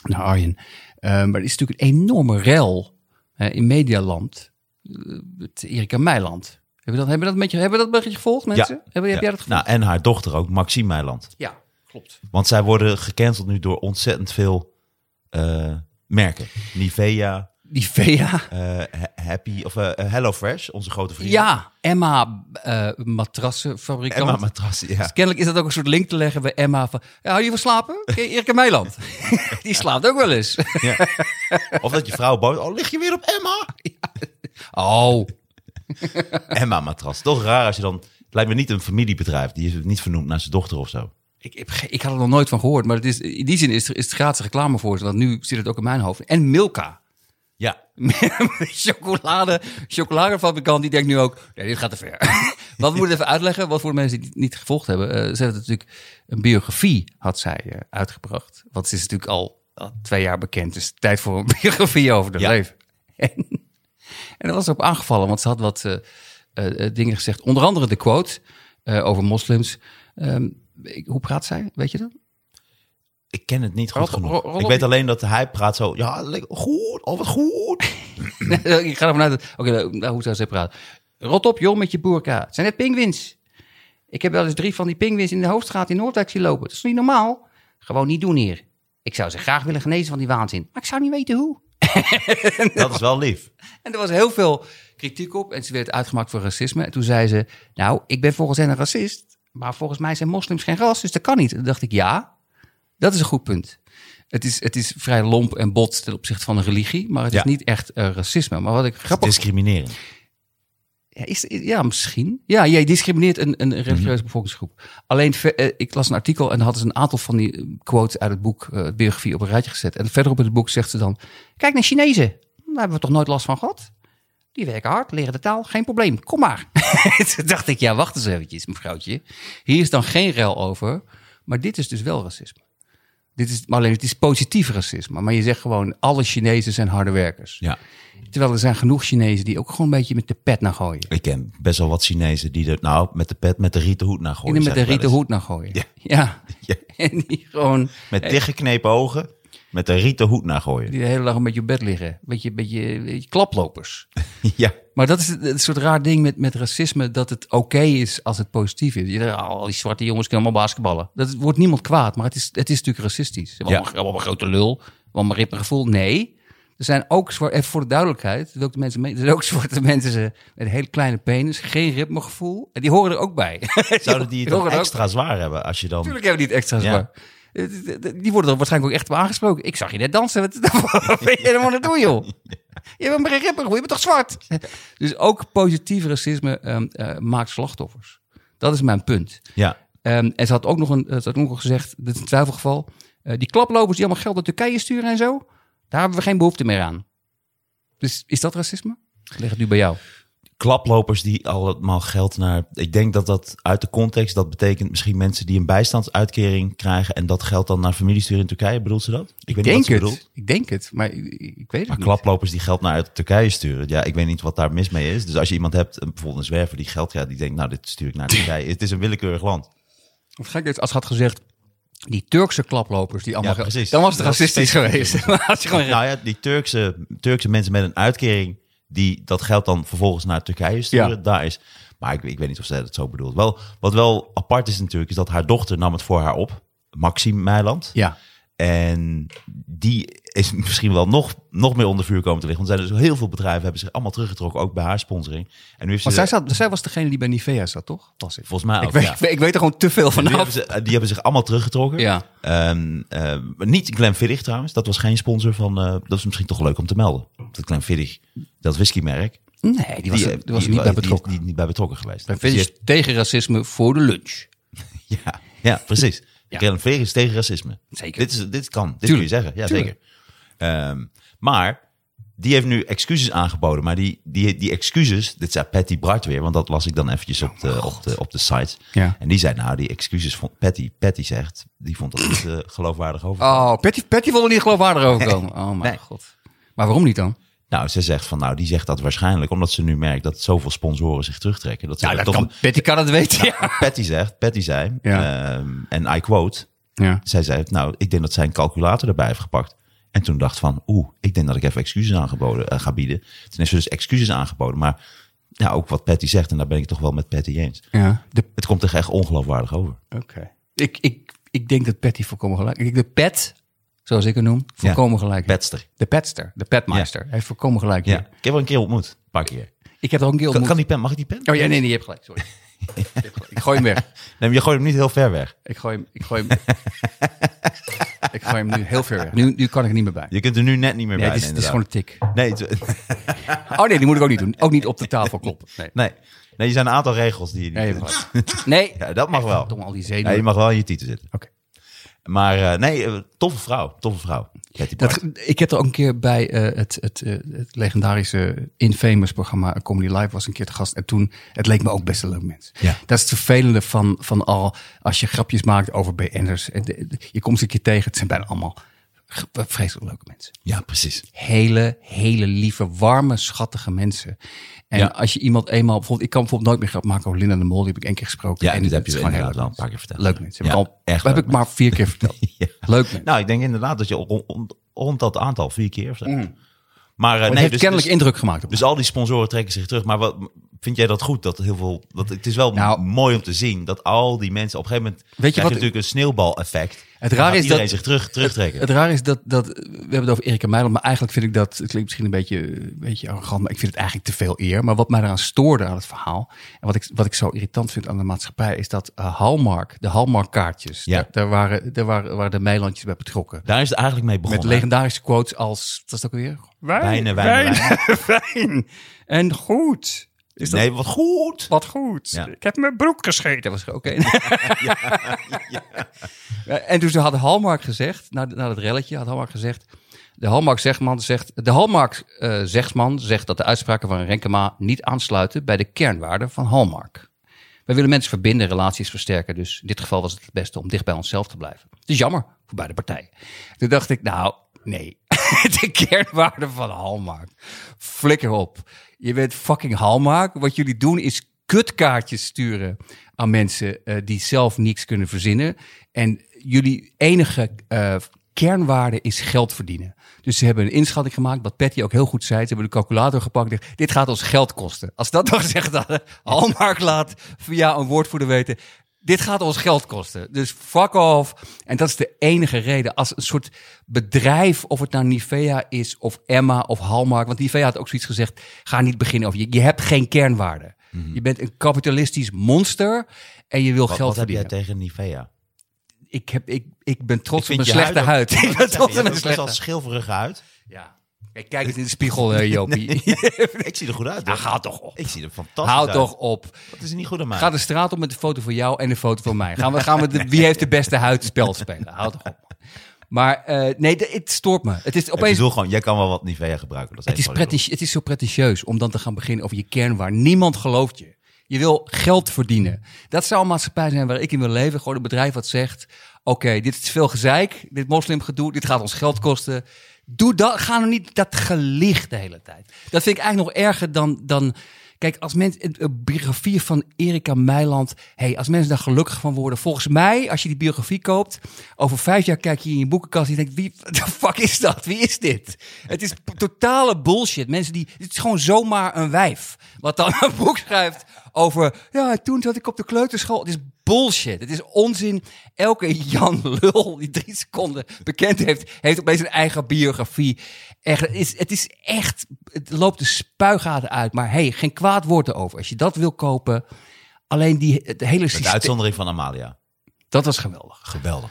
Speaker 3: naar Arjen. Eh, maar er is natuurlijk een enorme rel eh, in Medialand. eh, met Erika Meiland. Hebben we dat, hebben we dat, een beetje, hebben we dat een beetje gevolgd, mensen? Hebben, heb jij dat gevolgd?
Speaker 2: Nou, en haar dochter ook, Maxime Meiland.
Speaker 3: ja, klopt.
Speaker 2: Want zij worden gecanceld nu door ontzettend veel eh, merken. Nivea,
Speaker 3: Die Vea.
Speaker 2: eh, Ha- Happy, of eh, HelloFresh, onze grote vriend.
Speaker 3: Ja, Emma eh matrassenfabrikant.
Speaker 2: Emma Matras, ja.
Speaker 3: Dus kennelijk is dat ook een soort link te leggen bij Emma van... Ja, hou je van slapen? Ken je Erika Meiland. Die slaapt ook wel eens.
Speaker 2: ja. Of dat je vrouw boos... Oh, lig je weer op Emma?
Speaker 3: Oh,
Speaker 2: Emma Matras. Toch raar als je dan... Het lijkt me niet een familiebedrijf. Die is niet vernoemd naar zijn dochter of zo.
Speaker 3: ik, heb ge- ik had er nog nooit van gehoord. Maar het is, in die zin is, er- is het gratis reclame voor ze. Want nu zit het ook in mijn hoofd. En Milka.
Speaker 2: Ja,
Speaker 3: Chocolade, chocoladefabrikant die denkt nu ook... Nee, dit gaat te ver. Wat moet ik even uitleggen? Wat voor de mensen die het niet gevolgd hebben. eh ze heeft natuurlijk een biografie had zij eh, uitgebracht. Want ze is natuurlijk al, al twee jaar bekend. Dus tijd voor een biografie over haar
Speaker 2: Ja.
Speaker 3: leven. En, en daar was ze op aangevallen. Want ze had wat eh, eh, eh, dingen gezegd. Onder andere de quote eh, over moslims. Ehm, ik- hoe praat zij? Weet je dat?
Speaker 2: ik ken het niet goed
Speaker 3: Rob-
Speaker 2: genoeg.
Speaker 3: Rob- Rob-
Speaker 2: ik weet alleen dat hij praat zo... Ja, lekker, goed. Oh, wat goed.
Speaker 3: ik ga ervan uit dat... Oké, nou, hoe zou ze praten? Rot op, joh, met je boerka. Het zijn net pinguïns. Ik heb wel eens drie van die pinguïns in de hoofdstraat in Noordwijk zien lopen. Dat is niet normaal. Gewoon niet doen hier. Ik zou ze graag willen genezen van die waanzin. Maar ik zou niet weten hoe.
Speaker 2: Dat is wel lief.
Speaker 3: En er was heel veel kritiek op. En ze werd uitgemaakt voor racisme. En toen zei ze, nou, ik ben volgens hen een racist. Maar volgens mij zijn moslims geen ras, dus dat kan niet. En toen dacht ik, ja, dat is een goed punt. Het is, het is vrij lomp en bot ten opzichte van een religie. Maar het
Speaker 2: Ja.
Speaker 3: is niet echt eh, racisme. Maar wat ik grappig
Speaker 2: Discrimineren.
Speaker 3: Ja, is, ja misschien. Ja, jij discrimineert een, een religieuze bevolkingsgroep. Alleen, ver- eh, ik las een artikel en daar hadden ze een aantal van die eh, quotes uit het boek eh, Biografie op een rijtje gezet. En verderop in het boek zegt ze dan, kijk naar Chinezen. Daar hebben we toch nooit last van gehad? Die werken hard, leren de taal, geen probleem. Kom maar. Toen dacht ik, ja, wacht eens eventjes, mevrouwtje. Hier is dan geen rel over, maar dit is dus wel racisme. Dit is, maar alleen, het is positief racisme. Maar je zegt gewoon, alle Chinezen zijn harde werkers.
Speaker 2: Ja.
Speaker 3: Terwijl er zijn genoeg Chinezen die ook gewoon een beetje met de pet naar gooien.
Speaker 2: Ik ken best wel wat Chinezen die er nou met de pet, met de rieten hoed naar
Speaker 3: In
Speaker 2: gooien.
Speaker 3: hem met de
Speaker 2: zeg Dus ik wel
Speaker 3: rieten
Speaker 2: eens.
Speaker 3: hoed naar gooien.
Speaker 2: Ja.
Speaker 3: Ja.
Speaker 2: Ja.
Speaker 3: En die gewoon
Speaker 2: Met dichtgeknepen ogen, met de rieten hoed naar gooien.
Speaker 3: die de hele dag een beetje op bed liggen. Beetje, beetje, beetje klaplopers.
Speaker 2: Ja.
Speaker 3: Maar dat is het, het soort raar ding met, met racisme, dat het oké is als het positief is. Je denkt, "Ah, al die zwarte jongens kunnen allemaal basketballen. Dat wordt niemand kwaad, maar het is, het is natuurlijk racistisch. Ze hebben
Speaker 2: Ja.
Speaker 3: Allemaal, allemaal een grote lul, allemaal een rippen gevoel. Nee, er zijn ook, zwa- even voor de duidelijkheid, dat wil ik de mensen, mee- er zijn ook zwarte mensen ze- met een hele kleine penis, geen ritmegevoel. En die horen er ook bij.
Speaker 2: Zouden die het
Speaker 3: horen
Speaker 2: toch
Speaker 3: er ook
Speaker 2: extra zwaar hebben als je dan...
Speaker 3: Tuurlijk hebben die het extra zwaar. Eh, d- d- Die worden er waarschijnlijk ook echt op aangesproken. Ik zag je net dansen. Wat wat ben je helemaal aan het doen, joh? Je bent maar ripper, je bent toch zwart? Dus ook positief racisme ehm, eh, maakt slachtoffers. Dat is mijn punt.
Speaker 2: Ja.
Speaker 3: Ehm, en ze eh, had ook nog, een, ze had ook nog gezegd, dit is een twijfelgeval. eh, die klaplopers die allemaal geld naar Turkije sturen en zo. Daar hebben we geen behoefte meer aan. Dus is dat racisme? Ik leg het nu bij jou.
Speaker 2: klaplopers die allemaal geld naar. Ik denk dat dat uit de context, dat betekent misschien mensen die een bijstandsuitkering krijgen en dat geld dan naar familie sturen in Turkije. Bedoelt ze dat? Ik, weet niet wat
Speaker 3: denk
Speaker 2: ze
Speaker 3: het.
Speaker 2: bedoelt.
Speaker 3: Ik denk het, maar ik, ik weet het
Speaker 2: Maar
Speaker 3: niet.
Speaker 2: klaplopers die geld naar uit Turkije sturen, ja, ik weet niet wat daar mis mee is. Dus als je iemand hebt, een- bijvoorbeeld een zwerver die geld krijgt, die denkt, nou, dit stuur ik naar Turkije. Het is een willekeurig land.
Speaker 3: Of gek dat als had gezegd, die Turkse klaplopers die allemaal...
Speaker 2: Ja, precies.
Speaker 3: Dan was het
Speaker 2: Dat is
Speaker 3: racistisch
Speaker 2: specifiek.
Speaker 3: geweest. Maar had je gewoon...
Speaker 2: Nou ja, die Turkse, Turkse mensen met een uitkering, die dat geld dan vervolgens naar Turkije sturen,
Speaker 3: Ja.
Speaker 2: daar is. Maar ik, ik weet niet of zij dat zo bedoelt. Wel, wat wel apart is natuurlijk, is dat haar dochter nam het voor haar op. Maxime Meiland.
Speaker 3: Ja.
Speaker 2: En die is misschien wel nog, nog meer onder vuur komen te liggen. Want er zijn dus heel veel bedrijven hebben zich allemaal teruggetrokken, ook bij haar sponsoring. En nu heeft ze,
Speaker 3: Maar zij, zat, zij was degene die bij Nivea zat, toch? Was ik.
Speaker 2: volgens mij ook,
Speaker 3: ik, weet,
Speaker 2: ja.
Speaker 3: ik, weet, ik weet er gewoon te veel van
Speaker 2: die,
Speaker 3: af.
Speaker 2: hebben ze, die hebben zich allemaal teruggetrokken.
Speaker 3: Ja.
Speaker 2: Ehm, ehm, maar niet Glenfiddich trouwens. Dat was geen sponsor van... eh, dat is misschien toch leuk om te melden. Dat Glenfiddich, dat whiskymerk...
Speaker 3: Nee, die was, er-
Speaker 2: eh,
Speaker 3: die was er niet bij betrokken.
Speaker 2: Die, die, niet bij betrokken geweest.
Speaker 3: Wij vinden
Speaker 2: Dus
Speaker 3: het tegen racisme voor de lunch.
Speaker 2: je- ja, ja, precies.
Speaker 3: Ja.
Speaker 2: Glenfiddich is tegen racisme.
Speaker 3: Zeker.
Speaker 2: Dit, is, dit kan. Dit kun je
Speaker 3: Tuurlijk.
Speaker 2: zeggen. Ja,
Speaker 3: Tuurlijk.
Speaker 2: zeker. Ehm, maar die heeft nu excuses aangeboden. Maar die, die, die excuses, dit zei Patty Bart weer, want dat las ik dan eventjes op de, op de, op de site.
Speaker 3: Oh, Ja.
Speaker 2: En die zei, nou, die excuses vond Patty, Patty zegt, die vond dat niet eh, geloofwaardig over.
Speaker 3: Oh, Patty, Patty vond er niet geloofwaardig overkomen. Oh mijn
Speaker 2: Nee.
Speaker 3: god. Maar waarom niet dan?
Speaker 2: Nou, ze zegt van, nou, die zegt dat waarschijnlijk omdat ze nu merkt dat zoveel sponsoren zich terugtrekken. Dat ze
Speaker 3: Ja,
Speaker 2: er
Speaker 3: dat
Speaker 2: toch
Speaker 3: kan, Patty kan het weten. Ja.
Speaker 2: Patty zegt, Patty zei,
Speaker 3: Ja.
Speaker 2: ehm, en I quote,
Speaker 3: Ja.
Speaker 2: zij zei, nou, ik denk dat zij een calculator erbij heeft gepakt. En toen dacht van, oeh, ik denk dat ik even excuses aangeboden, eh, ga bieden. Toen heeft ze dus excuses aangeboden. Maar ja, ook wat Patty zegt, en daar ben ik toch wel met Patty eens.
Speaker 3: De-
Speaker 2: Het komt er echt ongeloofwaardig over.
Speaker 3: Oké. Ik, ik, ik denk dat Patty voorkomen gelijk... Ik denk dat Pat, zoals ik het noem, voorkomen gelijk. heeft.
Speaker 2: Petster.
Speaker 3: De petster, de petmeister. Hij heeft voorkomen gelijk.
Speaker 2: Ja.
Speaker 3: hier.
Speaker 2: Ik heb er een keer ontmoet. Een paar keer.
Speaker 3: Ik heb er ook een
Speaker 2: Kan,
Speaker 3: keer ontmoet.
Speaker 2: kan die pen? Mag ik die pen?
Speaker 3: Oh ja, nee, nee, je hebt gelijk. Sorry. Je hebt gelijk. ik gooi hem weg.
Speaker 2: Nee, maar je gooit hem niet heel ver weg.
Speaker 3: Ik gooi hem, ik gooi hem, ik gooi hem nu heel ver weg. Nu, nu kan ik er niet meer bij.
Speaker 2: Je kunt er nu net niet meer
Speaker 3: Nee,
Speaker 2: bij.
Speaker 3: het is, het is gewoon een
Speaker 2: inderdaad. Nee,
Speaker 3: tik.
Speaker 2: het-
Speaker 3: Oh nee, die moet ik ook niet doen. Ook niet op de tafel kloppen. Nee,
Speaker 2: nee. nee, er zijn een aantal regels die je niet
Speaker 3: nee, je
Speaker 2: kunt.
Speaker 3: hebt gelijk. nee.
Speaker 2: Ja, dat mag wel.
Speaker 3: Tom, al die
Speaker 2: Ja, je
Speaker 3: zenuwen.
Speaker 2: mag wel in je titel zitten.
Speaker 3: Oké.
Speaker 2: Maar eh, nee, eh, toffe vrouw. Toffe vrouw. Patty Bart.
Speaker 3: Dat, ik heb er ook een keer bij eh, het, het, eh, het legendarische Infamous programma Comedy Live was een keer te gast. En toen, het leek me ook best een leuk mens.
Speaker 2: Ja.
Speaker 3: Dat is het vervelende van, van al, als je grapjes maakt over BN'ers. eh, de- de- Je komt ze een keer tegen, het zijn bijna allemaal g- vreselijk leuke mensen.
Speaker 2: Ja, precies.
Speaker 3: Hele, hele lieve, warme, schattige mensen. En
Speaker 2: Ja.
Speaker 3: als je iemand eenmaal, bijvoorbeeld, ik kan bijvoorbeeld nooit meer grap maken over Linda de Mol, die heb ik één keer gesproken.
Speaker 2: Ja,
Speaker 3: en
Speaker 2: dit
Speaker 3: het
Speaker 2: heb je
Speaker 3: is gewoon
Speaker 2: inderdaad
Speaker 3: heel
Speaker 2: wel een paar
Speaker 3: leuk
Speaker 2: keer
Speaker 3: mensen.
Speaker 2: verteld.
Speaker 3: Leuk mensen. Heb
Speaker 2: Ja,
Speaker 3: ik al,
Speaker 2: echt
Speaker 3: heb
Speaker 2: leuk
Speaker 3: ik maar vier keer verteld.
Speaker 2: Ja.
Speaker 3: Leuk mensen.
Speaker 2: Nou, ik denk inderdaad dat je rond, rond- rond dat aantal vier keer of zo.
Speaker 3: Mm.
Speaker 2: Maar eh,
Speaker 3: Maar het
Speaker 2: nee,
Speaker 3: heeft
Speaker 2: dus,
Speaker 3: kennelijk
Speaker 2: dus,
Speaker 3: indruk gemaakt op
Speaker 2: dus al die sponsoren trekken zich terug. Maar wat, vind jij dat goed? Dat heel veel, dat, het is wel
Speaker 3: Nou-
Speaker 2: mooi om te zien dat al die mensen op een gegeven moment. Weet je
Speaker 3: wat-
Speaker 2: natuurlijk een sneeuwbaleffect.
Speaker 3: Het
Speaker 2: Dan
Speaker 3: raar
Speaker 2: gaat
Speaker 3: is
Speaker 2: iedereen
Speaker 3: dat-
Speaker 2: zich terug, terugtrekken.
Speaker 3: Het raar is dat, dat we hebben het over Erika Meiland, maar eigenlijk vind ik dat, het klinkt misschien een beetje, een beetje arrogant, maar ik vind het eigenlijk te veel eer. Maar wat mij eraan stoorde aan het verhaal, en wat ik, wat ik zo irritant vind aan de maatschappij, is dat eh, Hallmark, de Hallmark kaartjes,
Speaker 2: Ja.
Speaker 3: daar, daar waren, daar waren, waren de Meilandjes bij betrokken.
Speaker 2: Daar is het eigenlijk mee
Speaker 3: Met
Speaker 2: begonnen.
Speaker 3: legendarische quotes als, wat is dat ook weer? Wijn,
Speaker 2: Wijnen, wijnen,
Speaker 3: wijn. En goed. Is dat
Speaker 2: Nee, wat goed.
Speaker 3: wat goed.
Speaker 2: Ja.
Speaker 3: Ik heb mijn broek gescheten. was er ook één. Ja, En toen ze had Hallmark gezegd, na, na dat relletje, had Hallmark gezegd... De Hallmark-zegman zegt, de Hallmark, eh, zegsman zegt dat de uitspraken van Renkema niet aansluiten bij de kernwaarden van Hallmark. Wij willen mensen verbinden, relaties versterken. Dus in dit geval was het het beste om dicht bij onszelf te blijven. Het is jammer voor beide partijen. Toen dacht ik, nou, nee. De kernwaarde van Hallmark. Flikker op. Je bent fucking Hallmark. Wat jullie doen is kutkaartjes sturen aan mensen eh, die zelf niks kunnen verzinnen. En jullie enige eh, kernwaarde is geld verdienen. Dus ze hebben een inschatting gemaakt, wat Patty ook heel goed zei. Ze hebben de calculator gepakt. en gezegd, Dit gaat ons geld kosten. Als dat nog gezegd hadden, Hallmark laat via een woordvoerder weten. Dit gaat ons geld kosten. Dus fuck off. En dat is de enige reden. Als een soort bedrijf, of het nou Nivea is, of Emma, of Hallmark. Want Nivea had ook zoiets gezegd. Ga niet beginnen over je. Je hebt geen kernwaarde. Je bent een kapitalistisch monster. En je wil
Speaker 2: Mhm. Wat,
Speaker 3: geld
Speaker 2: wat heb jij
Speaker 3: verdienen.
Speaker 2: tegen Nivea?
Speaker 3: Ik, heb, ik, ik ben trots op
Speaker 2: vind
Speaker 3: mijn
Speaker 2: je
Speaker 3: slechte huid.
Speaker 2: ook- Oh,
Speaker 3: Ik ben trots
Speaker 2: Je
Speaker 3: op
Speaker 2: hebt
Speaker 3: mijn
Speaker 2: ook best wel
Speaker 3: slechte
Speaker 2: schilferige huid.
Speaker 3: Ja. Kijk, kijk eens in de spiegel, eh, Jopie.
Speaker 2: Ik zie er goed uit.
Speaker 3: Ja,
Speaker 2: hoor.
Speaker 3: Nou, ga toch op.
Speaker 2: Ik zie er fantastisch
Speaker 3: Houd
Speaker 2: uit.
Speaker 3: toch op.
Speaker 2: Dat is niet goed aan mij.
Speaker 3: Ga dus de straat op met een foto van jou en een foto van mij. Gaan we, gaan we de, wie heeft de beste huidspel spelen? Houd toch op. Maar eh, nee, d- het stoort me. Het is
Speaker 2: Ik
Speaker 3: opeens.
Speaker 2: bedoel gewoon, jij kan wel wat Nivea gebruiken. Dat
Speaker 3: Het is,
Speaker 2: even wat ik bedoel.
Speaker 3: pretig, het is zo pretentieus om dan te gaan beginnen over je kernwaar. Niemand gelooft je. Je wil geld verdienen. Dat zou een maatschappij zijn waar ik in wil leven. Gewoon een bedrijf wat zegt: Oké, dit is veel gezeik. Dit moslimgedoe. Dit gaat ons geld kosten. Doe dat. Ga nou niet dat gelicht de hele tijd. Dat vind ik eigenlijk nog erger dan. dan Kijk, als mensen een- een biografie van Erika Meiland, hey, als mensen daar gelukkig van worden, volgens mij, als je die biografie koopt, over vijf jaar kijk je in je boekenkast en je denkt, wie de fuck is dat? Wie is dit? Het is p- totale bullshit. Mensen die, het is gewoon zomaar een wijf, wat dan een boek schrijft over, ja, toen zat ik op de kleuterschool. Het is bullshit. Het is onzin. Elke Jan Lul die drie seconden bekend heeft, heeft opeens een eigen biografie. Echt, het, is, het is echt, het loopt de spuigaten uit. Maar hey, geen kwaad woord erover. Als je dat wil kopen, alleen die, het hele
Speaker 2: Met de
Speaker 3: systeem.
Speaker 2: uitzondering van Amalia.
Speaker 3: Dat was geweldig.
Speaker 2: Geweldig.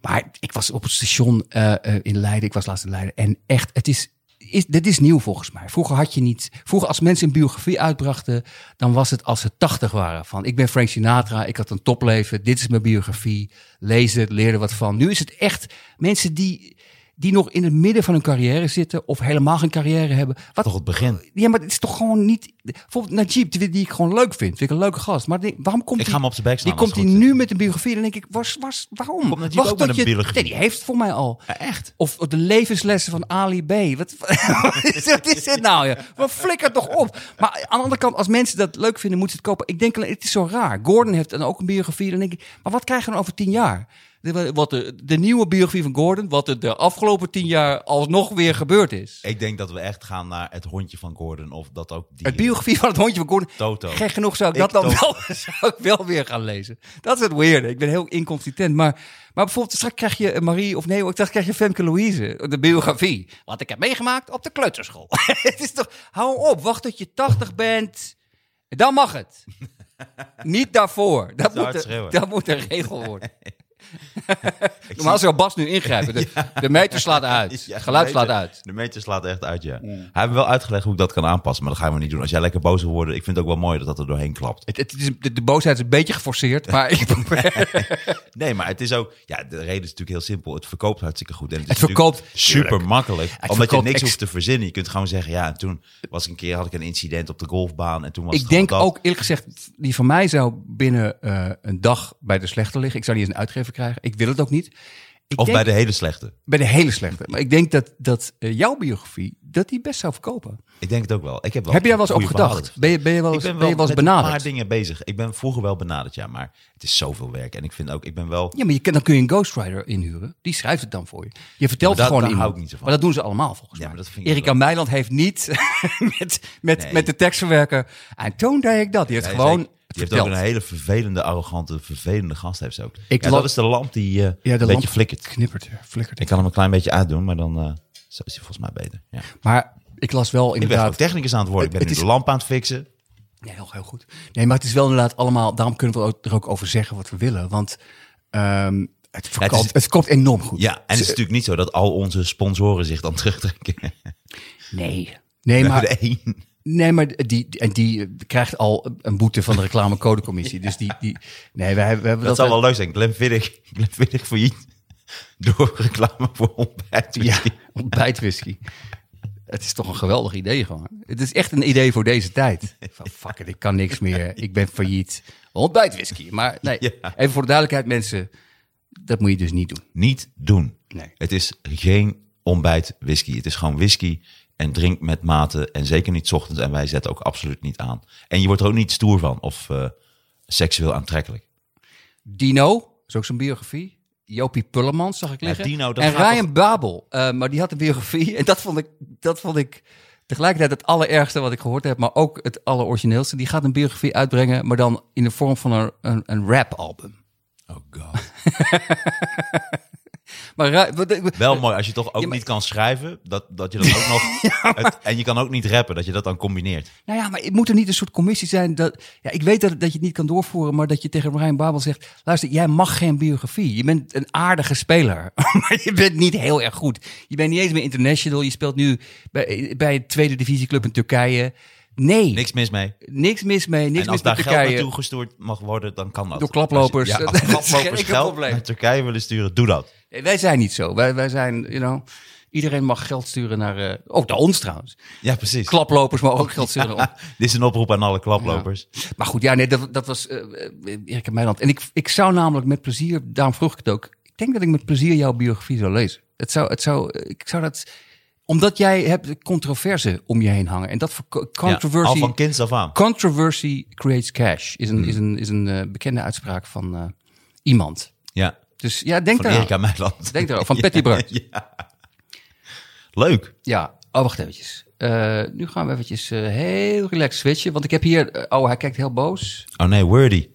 Speaker 3: Maar ik was op het station eh, eh, in Leiden. Ik was laatst in Leiden. En echt, het is, is, dit is nieuw volgens mij. Vroeger had je niet... Vroeger als mensen een biografie uitbrachten... dan was het als ze tachtig waren. Van ik ben Frank Sinatra, ik had een topleven. Dit is mijn biografie. Lees het, leer er wat van. Nu is het echt mensen die, die nog in het midden van hun carrière zitten... of helemaal geen carrière hebben. Wat,
Speaker 2: Toch het begin.
Speaker 3: ja, maar het is toch gewoon niet... Bijvoorbeeld Najib, die, die ik gewoon leuk vind. Vind ik een leuke gast. Maar ik denk, waarom komt
Speaker 2: Ik ga
Speaker 3: die-
Speaker 2: hem op zijn bek slaan.
Speaker 3: die komt
Speaker 2: als
Speaker 3: hij
Speaker 2: het goed
Speaker 3: nu met een biografie. Dan denk ik, was, was, waarom?
Speaker 2: Komt Najib
Speaker 3: Wacht
Speaker 2: ook met
Speaker 3: tot
Speaker 2: een
Speaker 3: je-
Speaker 2: biografie?
Speaker 3: Nee, die heeft het voor mij al.
Speaker 2: is. Ja, echt.
Speaker 3: Of de levenslessen van Ali B. Wat, wat is, dit- wat is dit nou? Ja? Wat flikker toch op. Maar aan de andere kant, als mensen dat leuk vinden, moeten ze het kopen. Ik denk, alleen, het is zo raar. Gordon heeft dan ook een biografie. Dan denk ik, maar wat krijgen we dan over tien jaar? De- Wat de, de nieuwe biografie van Gordon, wat er de afgelopen tien jaar alsnog weer gebeurd is.
Speaker 2: Ik denk dat we echt gaan naar het hondje van Gordon. Of dat ook die...
Speaker 3: Het biografie van het hondje van Gordon.
Speaker 2: Toto.
Speaker 3: Gek genoeg zou ik,
Speaker 2: Ik
Speaker 3: dat dan
Speaker 2: Toto.
Speaker 3: wel, zou ik wel weer gaan lezen. Dat is het weirde. Ik ben heel inconsistent. Maar, maar bijvoorbeeld, straks krijg je Marie, of nee, hoor, straks krijg je Femke Louise. De biografie. Wat ik heb meegemaakt op de kleuterschool. het is toch, hou op, wacht tot je 80 bent. Dan mag het. Niet daarvoor. Dat,
Speaker 2: Te hard
Speaker 3: moet, een,
Speaker 2: schreeuwen.
Speaker 3: dat moet een regel worden. Normaal zou Bas nu ingrijpen. De, de meter slaat uit.
Speaker 2: Ja,
Speaker 3: het geluid
Speaker 2: de
Speaker 3: slaat
Speaker 2: meter-
Speaker 3: uit.
Speaker 2: De meter slaat echt uit, ja. Hij heeft me wel uitgelegd hoe ik dat kan aanpassen, maar dat gaan we niet doen. Als jij lekker boos wil worden, ik vind het ook wel mooi dat dat er doorheen klapt.
Speaker 3: Het, het is, de, de boosheid is een beetje geforceerd, maar ik probeer-
Speaker 2: Nee, maar het is ook... Ja, de reden is natuurlijk heel simpel. Het verkoopt hartstikke goed. En het,
Speaker 3: Het
Speaker 2: is natuurlijk
Speaker 3: verkoopt-
Speaker 2: super makkelijk. omdat je
Speaker 3: verkoopt
Speaker 2: niks
Speaker 3: ex-
Speaker 2: hoeft te verzinnen. Je kunt gewoon zeggen, ja, en toen was ik een keer, had ik een incident op de golfbaan. En toen was
Speaker 3: Ik
Speaker 2: het gewoon
Speaker 3: denk
Speaker 2: dat.
Speaker 3: ook, eerlijk gezegd, die van mij zou binnen eh, een dag bij de slechte liggen. Ik zou niet eens een uitgever krijgen. Ik wil het ook niet. Ik
Speaker 2: Of
Speaker 3: denk-
Speaker 2: bij de hele slechte.
Speaker 3: bij de hele slechte. Maar ik denk dat, dat eh, jouw biografie, dat die best zou verkopen.
Speaker 2: Ik denk het ook wel. Ik heb, wel
Speaker 3: Heb je daar wel eens
Speaker 2: goede
Speaker 3: op gedacht?
Speaker 2: verhalen.
Speaker 3: Ben je, ben je wel
Speaker 2: Ik
Speaker 3: eens,
Speaker 2: ben
Speaker 3: ben je wel eens
Speaker 2: met een
Speaker 3: benaderd?
Speaker 2: paar dingen bezig. Ik ben vroeger wel benaderd, ja, maar het is zoveel werk. En ik vind ook, ik ben wel...
Speaker 3: Ja, maar je, kan- dan kun je een ghostwriter inhuren. Die schrijft het dan voor je. Je vertelt
Speaker 2: Maar dat-
Speaker 3: het gewoon
Speaker 2: daar
Speaker 3: iemand.
Speaker 2: hou ik niet zo van.
Speaker 3: Maar dat doen ze allemaal volgens
Speaker 2: Ja,
Speaker 3: mij.
Speaker 2: maar dat vind ik
Speaker 3: Erika
Speaker 2: wel.
Speaker 3: Meiland heeft niet met, met,
Speaker 2: Nee.
Speaker 3: met de tekstverwerker. En toen deed ik dat. Die heeft
Speaker 2: Nee,
Speaker 3: gewoon
Speaker 2: zeker.
Speaker 3: het
Speaker 2: Je hebt ook
Speaker 3: verteld.
Speaker 2: een hele vervelende, arrogante, vervelende gast heeft ze ook.
Speaker 3: Ik
Speaker 2: ja,
Speaker 3: las-
Speaker 2: dat is de lamp die eh
Speaker 3: de
Speaker 2: een
Speaker 3: lamp
Speaker 2: beetje flikkert.
Speaker 3: Knippert, ja, flikkert.
Speaker 2: Ik kan hem een klein beetje uitdoen, maar dan eh, zo is hij volgens mij beter. Ja.
Speaker 3: Maar ik las wel
Speaker 2: Ik ben ook
Speaker 3: inderdaad...
Speaker 2: technicus aan het worden. Ik ben
Speaker 3: Het-
Speaker 2: nu
Speaker 3: het
Speaker 2: de lamp aan het fixen.
Speaker 3: Nee, heel, heel goed. Nee, maar het is wel inderdaad allemaal... Daarom kunnen we er ook- er ook over zeggen wat we willen. Want ehm, het, verkoopt, het,
Speaker 2: is-
Speaker 3: verkoopt enorm goed.
Speaker 2: Ja, en het is natuurlijk niet zo dat al onze sponsoren zich dan terugtrekken.
Speaker 3: Nee. Nee, maar,
Speaker 2: de één.
Speaker 3: nee, maar die, die- en die eh, krijgt al een boete van de reclamecodecommissie. Dus die... die nee, wij, hebben- we hebben
Speaker 2: Dat
Speaker 3: dat...
Speaker 2: zou wel leuk zijn. Glenfiddich, Glenfiddich failliet. Door reclame voor ontbijt.
Speaker 3: Ja, ontbijtwhisky. Het is toch een geweldig idee gewoon. Het is echt een idee voor deze tijd. Van fuck it, ik kan niks meer. Ik ben failliet. Ontbijtwhisky. Maar nee,
Speaker 2: Ja.
Speaker 3: even voor de duidelijkheid mensen. Dat moet je dus niet doen.
Speaker 2: Niet doen.
Speaker 3: Nee.
Speaker 2: Het is geen ontbijt whisky. Het is gewoon whisky en drink met mate. En zeker niet 's ochtends. En wij zetten ook absoluut niet aan. En je wordt er ook niet stoer van of eh, seksueel aantrekkelijk.
Speaker 3: Dino, is ook zijn biografie. Jopie Pullemans zag ik
Speaker 2: Ja,
Speaker 3: liggen.
Speaker 2: Dino, dat
Speaker 3: en
Speaker 2: gaat
Speaker 3: Ryan Babel. eh, maar die had een biografie. En dat vond, ik, dat vond ik tegelijkertijd het allerergste wat ik gehoord heb. Maar ook het allerorigineelste. Die gaat een biografie uitbrengen. Maar dan in de vorm van een, een, een rap-album.
Speaker 2: Oh god.
Speaker 3: Maar Ra- wat-
Speaker 2: Wel mooi als je toch ook
Speaker 3: Eh, maar-
Speaker 2: niet kan schrijven. Dat, dat je dan ook nog. het- en je kan ook niet rappen. Dat je dat dan combineert.
Speaker 3: Nou ja, maar het moet er niet een soort commissie zijn. Dat, ja, ik weet dat, dat je het niet kan doorvoeren, maar dat je tegen Brian Babel zegt: luister, jij mag geen biografie. Je bent een aardige speler, maar je bent niet heel erg goed. Je bent niet eens meer international. Je speelt nu bij, bij een tweede divisieclub in Turkije. Nee, niks,
Speaker 2: Niks mis mee.
Speaker 3: mis mee, niks
Speaker 2: en als
Speaker 3: mis met
Speaker 2: daar geld
Speaker 3: Turkije.
Speaker 2: naartoe gestuurd mag worden, dan kan dat.
Speaker 3: Door klaplopers.
Speaker 2: Als je- Ja,
Speaker 3: Dat
Speaker 2: als
Speaker 3: is geen
Speaker 2: klaplopers
Speaker 3: enkel
Speaker 2: geld
Speaker 3: probleem.
Speaker 2: naar Turkije willen sturen, doe dat.
Speaker 3: Nee, wij zijn niet zo. Wij, wij zijn, you know, iedereen mag geld sturen naar, eh, ook naar ons trouwens.
Speaker 2: Ja, precies.
Speaker 3: Klaplopers mogen ook geld sturen naar ons.
Speaker 2: Dit is een oproep aan alle klaplopers.
Speaker 3: Maar goed, ja, nee, dat, dat was eh, eh, Erik en Meiland. En ik, ik zou namelijk met plezier, daarom vroeg ik het ook. Ik denk dat ik met plezier jouw biografie zou lezen. Het zou, het zou, eh, ik zou dat, omdat jij hebt controverse om je heen hangen. En dat voor
Speaker 2: Ja, al
Speaker 3: controversie,
Speaker 2: van kinds af aan.
Speaker 3: controversy creates cash, is
Speaker 2: Hmm.
Speaker 3: een, is een, is een eh, bekende uitspraak van eh, iemand.
Speaker 2: Ja,
Speaker 3: Dus ja, denk
Speaker 2: van
Speaker 3: daar.
Speaker 2: Erika Meiland.
Speaker 3: Denk eraan, van Patty Brandt.
Speaker 2: Ja. Leuk.
Speaker 3: Ja, oh, wacht eventjes. Eh, nu gaan we eventjes eh, heel relaxed switchen. Want ik heb hier... eh, oh, hij kijkt heel boos.
Speaker 2: Oh nee, Wordy.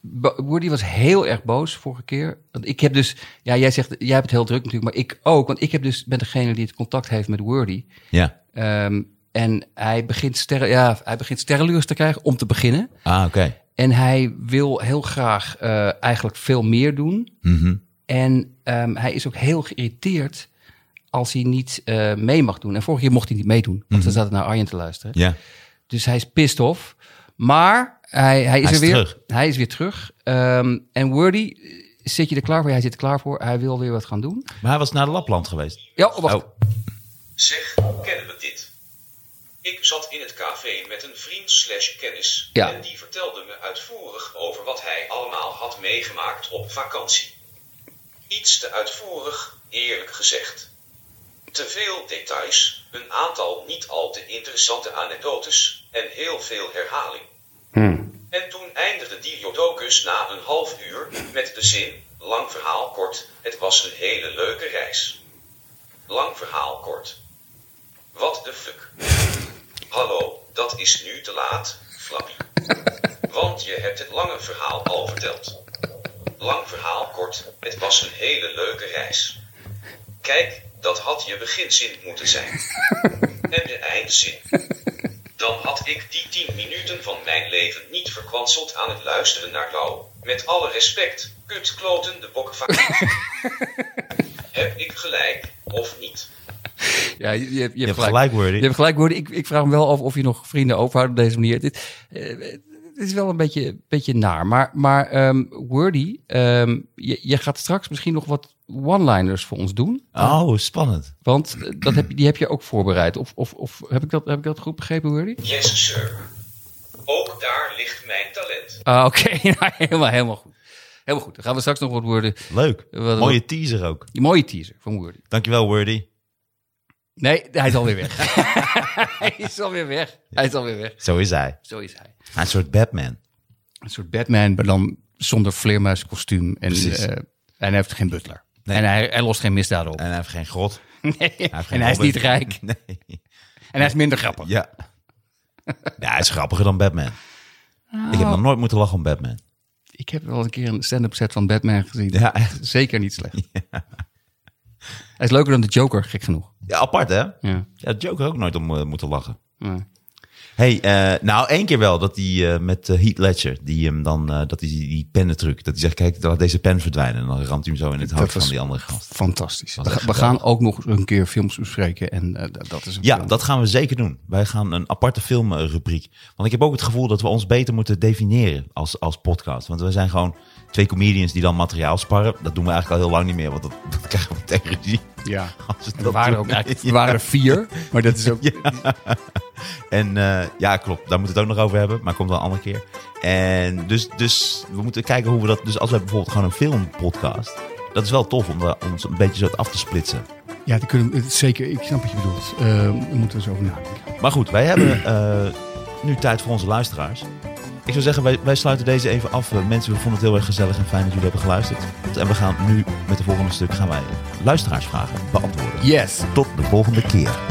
Speaker 3: Bo- Woody was heel erg boos vorige keer. Want ik heb dus... Ja, jij zegt... Jij hebt het heel druk natuurlijk, maar ik ook. Want ik heb dus, ben degene die het contact heeft met Wordy.
Speaker 2: Ja.
Speaker 3: Ehm, en hij begint, sterren, ja, hij begint sterrenluurs te krijgen om te beginnen.
Speaker 2: Ah, oké.
Speaker 3: En hij wil heel graag eh, eigenlijk veel meer doen.
Speaker 2: Mhm.
Speaker 3: En ehm, hij is ook heel geïrriteerd als hij niet eh, mee mag doen. En vorige keer mocht hij niet meedoen, want we zaten naar Arjen te luisteren.
Speaker 2: Mhm. Ja.
Speaker 3: Dus hij is pissed off. Maar hij, hij is
Speaker 2: Hij
Speaker 3: er
Speaker 2: is
Speaker 3: weer.
Speaker 2: terug.
Speaker 3: Hij is weer terug. Ehm, en Wordy, eh, zit je er klaar voor? Hij zit er klaar voor. Hij wil weer wat gaan doen.
Speaker 2: Maar hij was naar Lapland geweest.
Speaker 3: Ja, oh, wacht.
Speaker 2: Oh.
Speaker 6: Zeg, kennen we dit? Ik zat in het café met een vriend slash kennis
Speaker 3: Ja.
Speaker 6: en die vertelde me uitvoerig over wat hij allemaal had meegemaakt op vakantie. Iets te uitvoerig, eerlijk gezegd. Te veel details, een aantal niet al te interessante anekdotes en heel veel herhaling. En toen eindigde die jodokus na een half uur met de zin, lang verhaal kort, het was een hele leuke reis. Lang verhaal kort. Wat de fuck? Hallo, dat is nu te laat, Flappy. Want je hebt het lange verhaal al verteld. Lang verhaal kort, het was een hele leuke reis. Kijk, dat had je beginzin moeten zijn. En de eindzin. Dan had ik die 10 minuten van mijn leven niet verkwanseld aan het luisteren naar jou. Met alle respect, kutkloten de bokvak. Heb ik gelijk, of niet?
Speaker 3: Ja, je, je, hebt- je
Speaker 2: Je hebt
Speaker 3: gelijk.
Speaker 2: gelijk, Wordy.
Speaker 3: Je hebt gelijk, Wordy. Ik, ik vraag me wel af of je nog vrienden overhoudt op deze manier. Dit, eh, dit is wel een beetje, beetje naar. Maar, maar ehm, Wordy, ehm, je, je gaat straks misschien nog wat one-liners voor ons doen.
Speaker 2: Oh, spannend.
Speaker 3: Want eh, dat heb, je- die heb je ook voorbereid. Of, of, of heb, ik dat, heb ik dat goed begrepen, Wordy?
Speaker 6: Yes, sir. Ook daar ligt mijn talent.
Speaker 3: Ah, Oké, Nou, helemaal, helemaal goed. Helemaal goed. Dan gaan we straks nog wat woorden.
Speaker 2: Leuk.
Speaker 3: Wat-
Speaker 2: Mooie teaser ook.
Speaker 3: Die mooie teaser van Wordy.
Speaker 2: Dankjewel, Wordy.
Speaker 3: Nee, hij is alweer weg. hij is alweer weg. Hij is alweer weg.
Speaker 2: Zo is hij.
Speaker 3: Zo is hij.
Speaker 2: Hij is Een soort Batman.
Speaker 3: Een soort Batman, maar dan zonder vleermuiskostuum. En,
Speaker 2: Precies.
Speaker 3: eh, en hij heeft geen butler.
Speaker 2: Nee.
Speaker 3: En hij, hij lost geen misdaden op.
Speaker 2: En hij heeft geen god. Hij heeft geen
Speaker 3: en hij is
Speaker 2: Robin.
Speaker 3: niet rijk.
Speaker 2: Nee.
Speaker 3: En hij is minder grappig.
Speaker 2: Ja. ja, hij is grappiger dan Batman. Ik heb nog nooit moeten lachen om Batman.
Speaker 3: Ik heb wel een keer een stand-up set van Batman gezien.
Speaker 2: Ja, echt.
Speaker 3: Zeker niet slecht. Hij is leuker dan de Joker, gek genoeg.
Speaker 2: Ja, apart hè? Ja,
Speaker 3: Ja.
Speaker 2: Joker ook nooit om eh, moeten lachen.
Speaker 3: Ja.
Speaker 2: Hey, eh, nou één keer wel dat hij eh, met eh, Heath Ledger, die hem dan, eh, dat hij die, die pennentruc, dat hij zegt, kijk, laat deze pen verdwijnen. En dan ramt hij hem zo in het hoofd
Speaker 3: was-
Speaker 2: van die andere gast.
Speaker 3: Fantastisch. We,
Speaker 2: Was echt
Speaker 3: we gaan ook nog een keer films bespreken. En eh, d- dat is een
Speaker 2: Ja,
Speaker 3: film.
Speaker 2: dat gaan we zeker doen. Wij gaan een aparte filmrubriek. Want ik heb ook het gevoel dat we ons beter moeten definiëren als, als podcast. Want we zijn gewoon twee comedians die dan materiaal sparren. Dat doen we eigenlijk al heel lang niet meer, want dat, dat krijgen we tegen regie.
Speaker 3: Ja.
Speaker 2: Als we
Speaker 3: En er
Speaker 2: dat
Speaker 3: waren er
Speaker 2: doen.
Speaker 3: ook eigenlijk er waren er vier. Maar dat is ook...
Speaker 2: En eh, ja, klopt. Daar moeten we het ook nog over hebben. Maar komt wel een andere keer. En dus, dus we moeten kijken hoe we dat... Dus als we bijvoorbeeld gewoon een filmpodcast... Dat is wel tof om daar ons een beetje zo af te splitsen.
Speaker 7: Ja, dat kunnen, het is zeker, ik snap wat je bedoelt. Eh,
Speaker 3: Ehm,
Speaker 7: daar moeten we zo over nadenken.
Speaker 2: Maar goed, wij hebben eh, nu tijd voor onze luisteraars. Ik zou zeggen, wij, wij sluiten deze even af. Eh, Mensen, we vonden het heel erg gezellig en fijn dat jullie hebben geluisterd. En we gaan nu met het volgende stuk gaan wij luisteraarsvragen beantwoorden.
Speaker 3: Yes.
Speaker 2: Tot de volgende keer.